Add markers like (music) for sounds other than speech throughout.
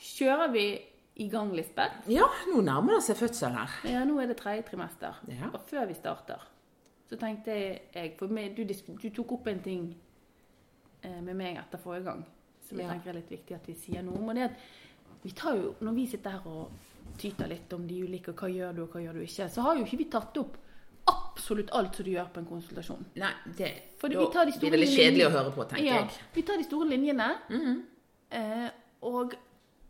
kjører vi i gang, Lisbeth. Ja, nå nærmer det seg fødsel her. Ja, nå er det tredje trimester. Ja. Og før vi starter, så tenkte jeg For meg, du, disk- du tok opp en ting eh, med meg etter forrige gang som jeg Ja. tenker er litt viktig at vi sier noe om. Og det er at vi tar jo, når vi sitter her og tyter litt om de ulike og hva gjør du, og hva gjør du ikke, så har jo ikke vi tatt opp absolutt alt som du gjør på en konsultasjon. Nei, det, For da vi tar de store blir det litt kjedelig å linjene. høre på, tenker ja, jeg. Mhm. Vi tar de store linjene. eh, og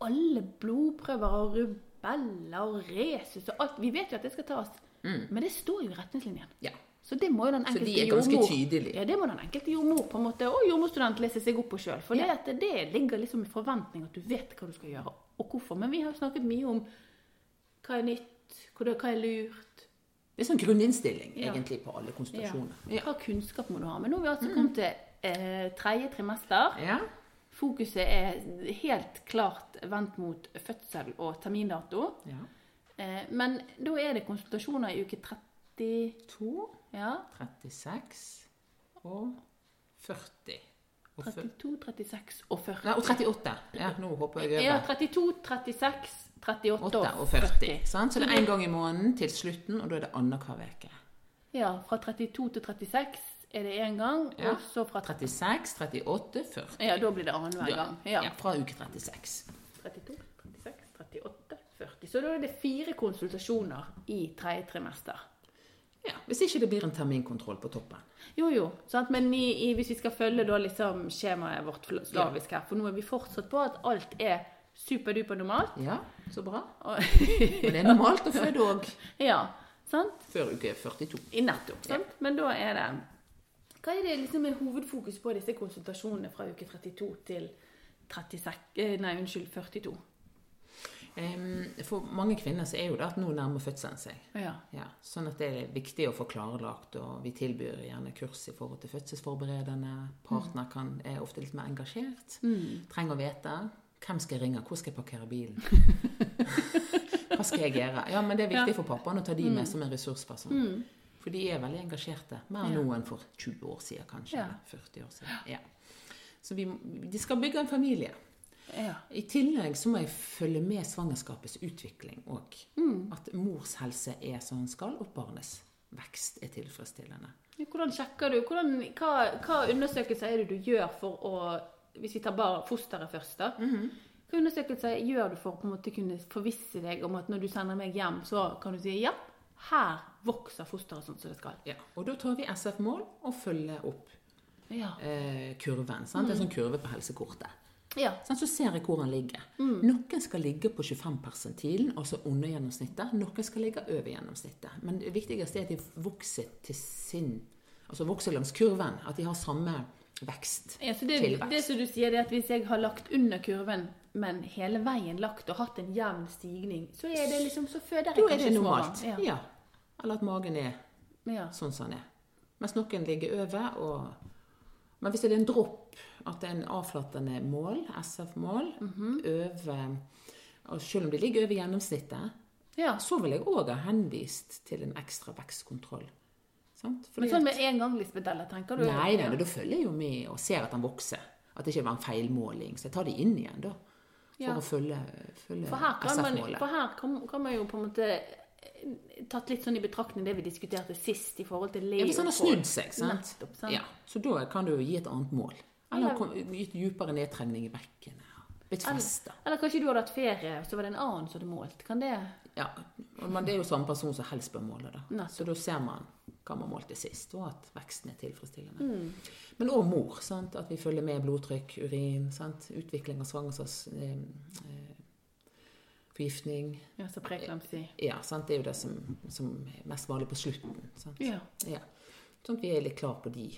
alle blodprøver og rubeller og resus og alt. Vi vet jo at det skal tas. Men det står jo i retningslinjen. Ja. Så det må jo den Mm. Så enkelte de er ganske jordmor- tydelige. Ja, det må den enkelte jordmor på en måte, og jordmorstudent lese seg opp på sjøl. For det, at det ligger liksom i forventning at du vet hva du skal gjøre, og hvorfor. Men vi har jo snakket mye om hva er nytt, hva hva er lurt. Det er sånn grunninnstilling Ja. egentlig på alle Ja. konsultasjoner. Hva kunnskap må du ha? Men nå har vi altså kommet til eh, tredje trimester. Mm. Ja. Fokuset er helt klart vendt mot fødsel og termindato. ja. Eh, men da er det konsultasjoner i uke 30 2, Ja. 36 og 40. Og, fyr- 32, 36 og 40. Nei, og 38. Ja, nå håper jeg Ja, over. 32, 36, 38 8 og 40. Sant? Så det Mm. er én gang i måneden til slutten, og da er det annenhver uke. Ja, fra 32 til 36 er det én gang, Ja. og så fra 30 36, 38, 40. Ja, da blir det annenhver gang. Ja. Ja, fra uke 36. 32, 36, 38, 40. Så da er det fire konsultasjoner i tredje trimester. Ja, Hvis ikke det blir en terminkontroll på toppen. Jo, jo. Sant? Men i, i, hvis vi skal følge da liksom skjemaet vårt fl- slavisk her, for nå er vi fortsatt på at alt er superduper normalt. Ja, så bra. Og, (laughs) Men det er normalt å føde òg ja, sant? før uke 42. I nettopp, sant? Men da er det Hva er det liksom er hovedfokus på i disse konsultasjonene fra uke 32 til 36, eh, nei, unnskyld, 42? Em, For mange kvinner så er jo det at nå nærmer fødselen seg. Ja. Ja, sånn at det er viktig å få klarlagt, og vi tilbyr gjerne kurs i forhold til fødselsforberedende. Partner kan, er ofte litt mer engasjert. Trenger å vete. Hvem skal jeg ringe? Hvor skal jeg parkere (laughs) bilen? Hva skal jeg gjøre? Ja, Mm. men Det er viktig for pappaen å ta de med som en ressursperson. For de er veldig engasjerte. Mer nå enn for 20 år siden, kanskje. Ja. Eller 40 år siden. Ja. Så vi, de skal bygge en familie. ja. I tillegg så må jeg følge med svangerskapets utvikling òg. Mm. At mors helse er som den skal, og barnets vekst er tilfredsstillende. Hvordan sjekker du hvordan, hva, hva undersøkelser er det du gjør for å Hvis vi tar bare fosteret først, da. Hva undersøkelser gjør du for å på en måte kunne forvisse deg om at når du sender meg hjem, så kan du si ja, her vokser fosteret sånn som det skal? Ja, og da tar vi SF-mål og følger opp Ja. eh, kurven. Mm. Sant? Det er sånn kurve på helsekortet. ja. Sånn, så ser jeg hvor han ligger. Mm. Noen skal ligge på 25 persentilen, altså under gjennomsnittet. Noen skal ligge over gjennomsnittet. Men det viktigste er at de vokser til sin Altså vokser langs kurven. At de har samme vekst. Ja, så det, Tilvekst. det som du sier, det er at hvis jeg har lagt under kurven, men hele veien lagt og hatt en jevn stigning, så er det liksom så føder jeg Da er kanskje det småbarn. normalt. Ja. Ja. Eller at magen er Ja. sånn som den er. Mens noen ligger over. Og... Men hvis det er en dropp, at det er en avflatende mål, SF-mål, Mhm. over og Selv om de ligger over gjennomsnittet, ja. så vil jeg òg ha henvist til en ekstra vekstkontroll. Sant? Fordi Men sånn med en gang, Lisbeth Eller, tenker du? at- Nei, nei, men da følger jeg jo med og ser at den vokser. At det ikke var en feilmåling. Så jeg tar de inn igjen, da. For Ja. å følge, følge For her kan man, SF-målet. for her kan, kan man jo på en måte eh, tatt litt sånn i betraktning det vi diskuterte sist i forhold til Ja, Leo. hvis han har snudd seg, sant? Nettopp, sant. Ja, så da kan du jo gi et annet mål. Eller- Eller kom, gi et djupere nedtrengning i bekkenet. Blitt festa. Eller kanskje du hadde hatt ferie, og så var det en annen som hadde målt. Kan det Ja. og- Men det er jo samme person som helst bør måle, da. Nettopp. Så da ser man hva man målte sist, og at veksten er tilfredsstillende. Mm. Men òg mor. sant? At vi følger med blodtrykk, urin, sant? utvikling av svangerskapsforgiftning. Forgiftning. Ja, så preklamsi. Ja, sant? det er jo det som, som er mest vanlig på slutten. sant? Ja. Ja. Sånn at vi er litt klar på de.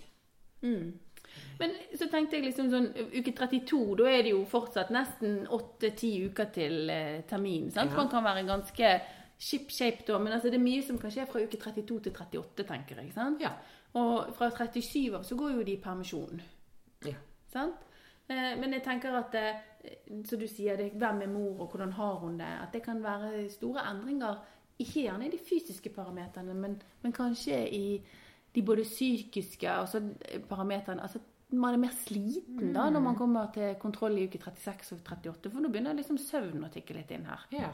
Men så tenkte jeg liksom sånn Uke 32, da er det jo fortsatt nesten 8-10 uker til eh, termin. sant? Ja. Man kan være ganske ship-shape da, men altså det er mye som kan skje fra uke 32 til 38, tenker jeg. sant? Ja. Og fra 37 av så går jo de i permisjon. ja. sant? Eh, Men jeg tenker at, eh, som du sier, det, hvem er mor, og hvordan har hun det? At det kan være store endringer, ikke gjerne i de fysiske parameterne, men, men kanskje i de både psykiske altså, eh, parameterne. Altså, man er mer sliten da når man kommer til kontroll i uke 36 og 38, for nå begynner liksom søvn å tikke litt inn her. Ja,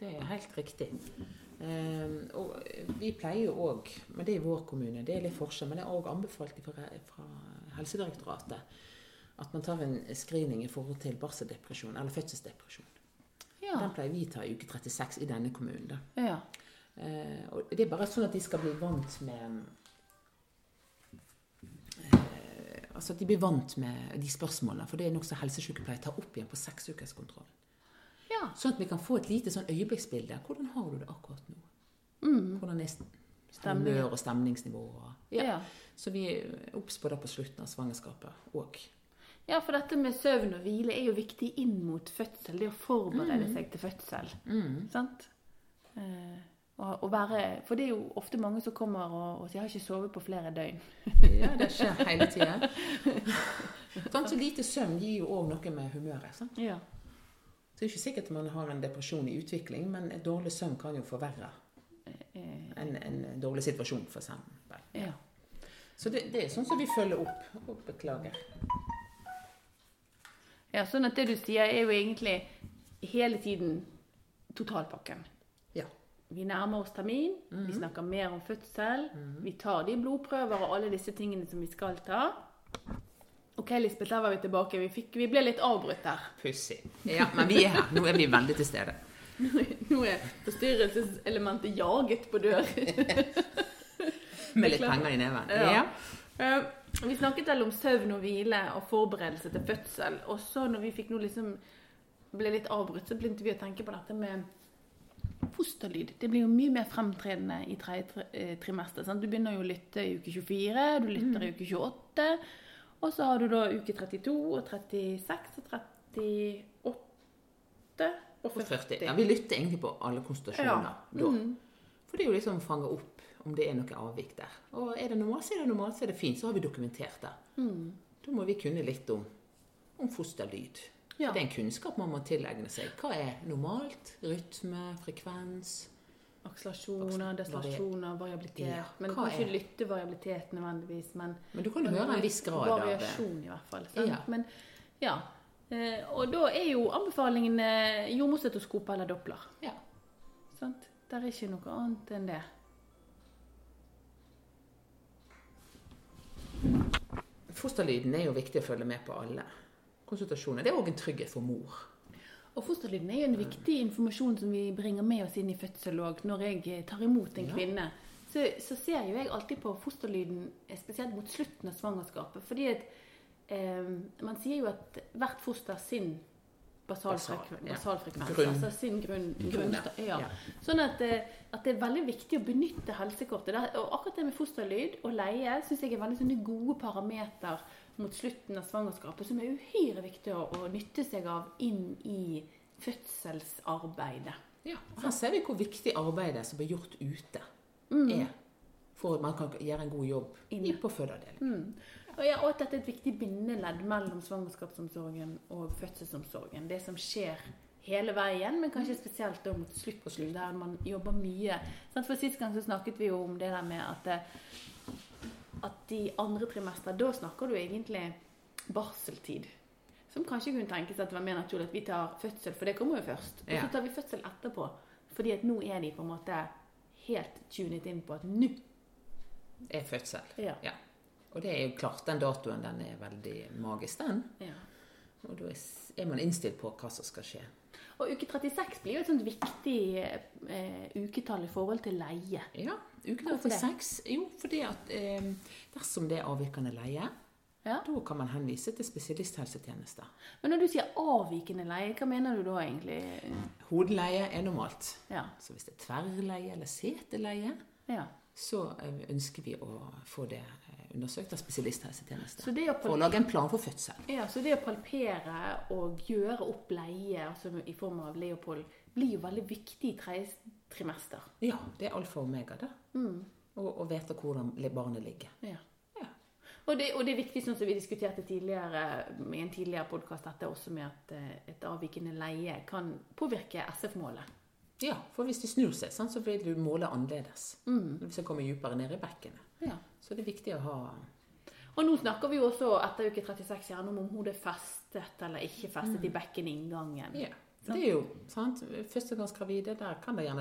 det er helt riktig. Ehm, og vi pleier jo òg, men det er i vår kommune, det er litt forskjell, men det er òg anbefalt fra, fra Helsedirektoratet at man tar en screening i forhold til barseldepresjon eller fødselsdepresjon. Ja. Den pleier vi å ta i uke 36 i denne kommunen. da. ja. Eh, og det er bare sånn at de skal bli vant med eh, Altså at de blir vant med de spørsmålene, for det er noe som helsesykepleier tar opp igjen på seksukerskontrollen. ja. Sånn at vi kan få et lite sånn øyeblikksbilde. Hvordan har du det akkurat nå? Hvordan er Stemning. humør og stemningsnivå? Og, Mm. ja. Ja. Så vi er obs på det på slutten av svangerskapet òg. Ja, for dette med søvn og hvile er jo viktig inn mot fødsel. Det å forberede seg til fødsel. Sant? Eh, og, og være, for det er jo ofte mange som kommer og, og sier 'jeg har ikke sovet på flere døgn'. Ja, det skjer hele tida. (laughs) Sånn, så lite søvn gir jo òg noe med humøret. Sant? Ja. Så det er ikke sikkert man har en depresjon i utvikling, men et dårlig søvn kan jo forverre Eh, en, en dårlig situasjon, for eksempel. ja. Så det, det er sånn som vi følger opp. Og beklager. ja. Sånn at det du sier, er jo egentlig hele tiden totalpakken. Ja. Vi nærmer oss termin, vi snakker mer om fødsel, vi tar de blodprøver og alle disse tingene som vi skal ta. OK, Lisbeth, der var vi tilbake. Vi, fikk, vi ble litt avbrutt der. Pussig. Ja, men vi er her. Nå er vi veldig til stede. Nå er forstyrrelseselementet jaget på dør. Med litt penger i neven. Ja. Ja. Eh, Vi snakket vel om søvn og hvile og forberedelse til fødsel. Og så når vi fikk noe liksom ble litt avbrutt, så begynte vi å tenke på dette med fosterlyd. Det blir jo mye mer fremtredende i tredje tri- eh, trimester. Sant? Du begynner jo å lytte i uke 24, du lytter i uke 28. Og så har du da uke 32 og 36 og 38 og Og 40. 40. Ja, vi lytter egentlig på alle konsultasjoner Ja. Mm. da. For det er jo liksom å fange opp om det er noe avvik der. Og er det normalt, så er det normalt. Så er det fint, så har vi dokumentert det. Mm. Da må vi kunne litt om, om fosterlyd. Ja. Det er en kunnskap man må tilegne seg. Hva er normalt? Rytme? Frekvens? Akselerasjoner, deslasjoner, variabilitet. Ja, Men hva kanskje er- lytte variabilitet nødvendigvis, men Men du kan jo høre en viss grad av det. Variasjon, i hvert fall. Sant? Ja. Men, ja. Eh, Og da er jo anbefalingen eh, jordmorstetoskop eller Doppler. Ja. Sant? Der er ikke noe annet enn det. Fosterlyden er jo viktig å følge med på alle konsultasjoner. Det er òg en trygghet for mor. Og fosterlyden er jo en viktig informasjon som vi bringer med oss inn i fødsel òg. Når jeg eh, tar imot en Ja. kvinne, så, så ser jo jeg alltid på fosterlyden, eh, spesielt mot slutten av svangerskapet. Fordi at eh, man sier jo at hvert foster har sin Basal, basalfrekvens. ja. basalfrekvens Grunn. Altså sin grunn, Grunn, grunn, ja. ja. Ja. Sånn at, eh, at det er veldig viktig å benytte helsekortet. Der- Og akkurat det med fosterlyd og leie syns jeg er veldig sånne gode parameter mot slutten av svangerskapet, som er uhyre viktig å, å nytte seg av inn i fødselsarbeidet. Ja, og Her ser vi hvor viktig arbeidet som blir gjort ute, er for at man kan gjøre en god jobb i Mm. Inne. Mm. på fødeavdelingen. Og, ja, og at dette er et viktig bindeledd mellom svangerskapsomsorgen og fødselsomsorgen. Det som skjer hele veien, men kanskje spesielt da mot slutten, der man jobber mye. Sant, For Sist gang så snakket vi jo om det der med at, eh, at i andre trimester, da snakker du egentlig barseltid. Som kanskje kunne tenkes at det var mer naturlig at vi tar fødsel, for det kommer jo først. Og Ja. så tar vi fødsel etterpå. Fordi at nå er de på en måte helt tunet inn på at nå Er fødsel. Ja. Og det er jo klart, den datoen den er veldig magisk, den. ja. Og da er s- er man innstilt på hva som skal skje. Og uke 36 blir jo et sånt viktig eh, uketall i forhold til leie. Ja, uke Hvorfor det? 36. Jo, fordi at eh, dersom det er avvikende leie, Ja. da kan man henvise til spesialisthelsetjeneste. Men når du sier avvikende leie, hva mener du da egentlig? Hodeleie er normalt. Ja. Så hvis det er tverrleie eller seteleie, ja. så eh, ønsker vi å få det eh, undersøkt av spesialisthelsetjeneste. Så det å For å lage en plan for fødsel. Ja, så det å palpere og gjøre opp leie altså i form av Leopold blir jo veldig viktig i tredje trimester. Ja, det er alfa og omega, det. Og, og vite hvordan li- barnet ligger. Ja. Ja. Og det, og det er viktig, sånn som vi diskuterte tidligere i en tidligere podkast, dette også med at eh, et avvikende leie kan påvirke SF-målet. Ja, for hvis det snur seg, sant, så vil Mm. du måle annerledes. Hvis det kommer dypere ned i bekkenet. Ja. Så det er viktig å ha Og nå snakker vi jo også etter uke 36 gjerne om om hodet er festet eller ikke festet i bekkeninngangen. Ja. Det er jo sant? Førstegangsgravide, der kan det gjerne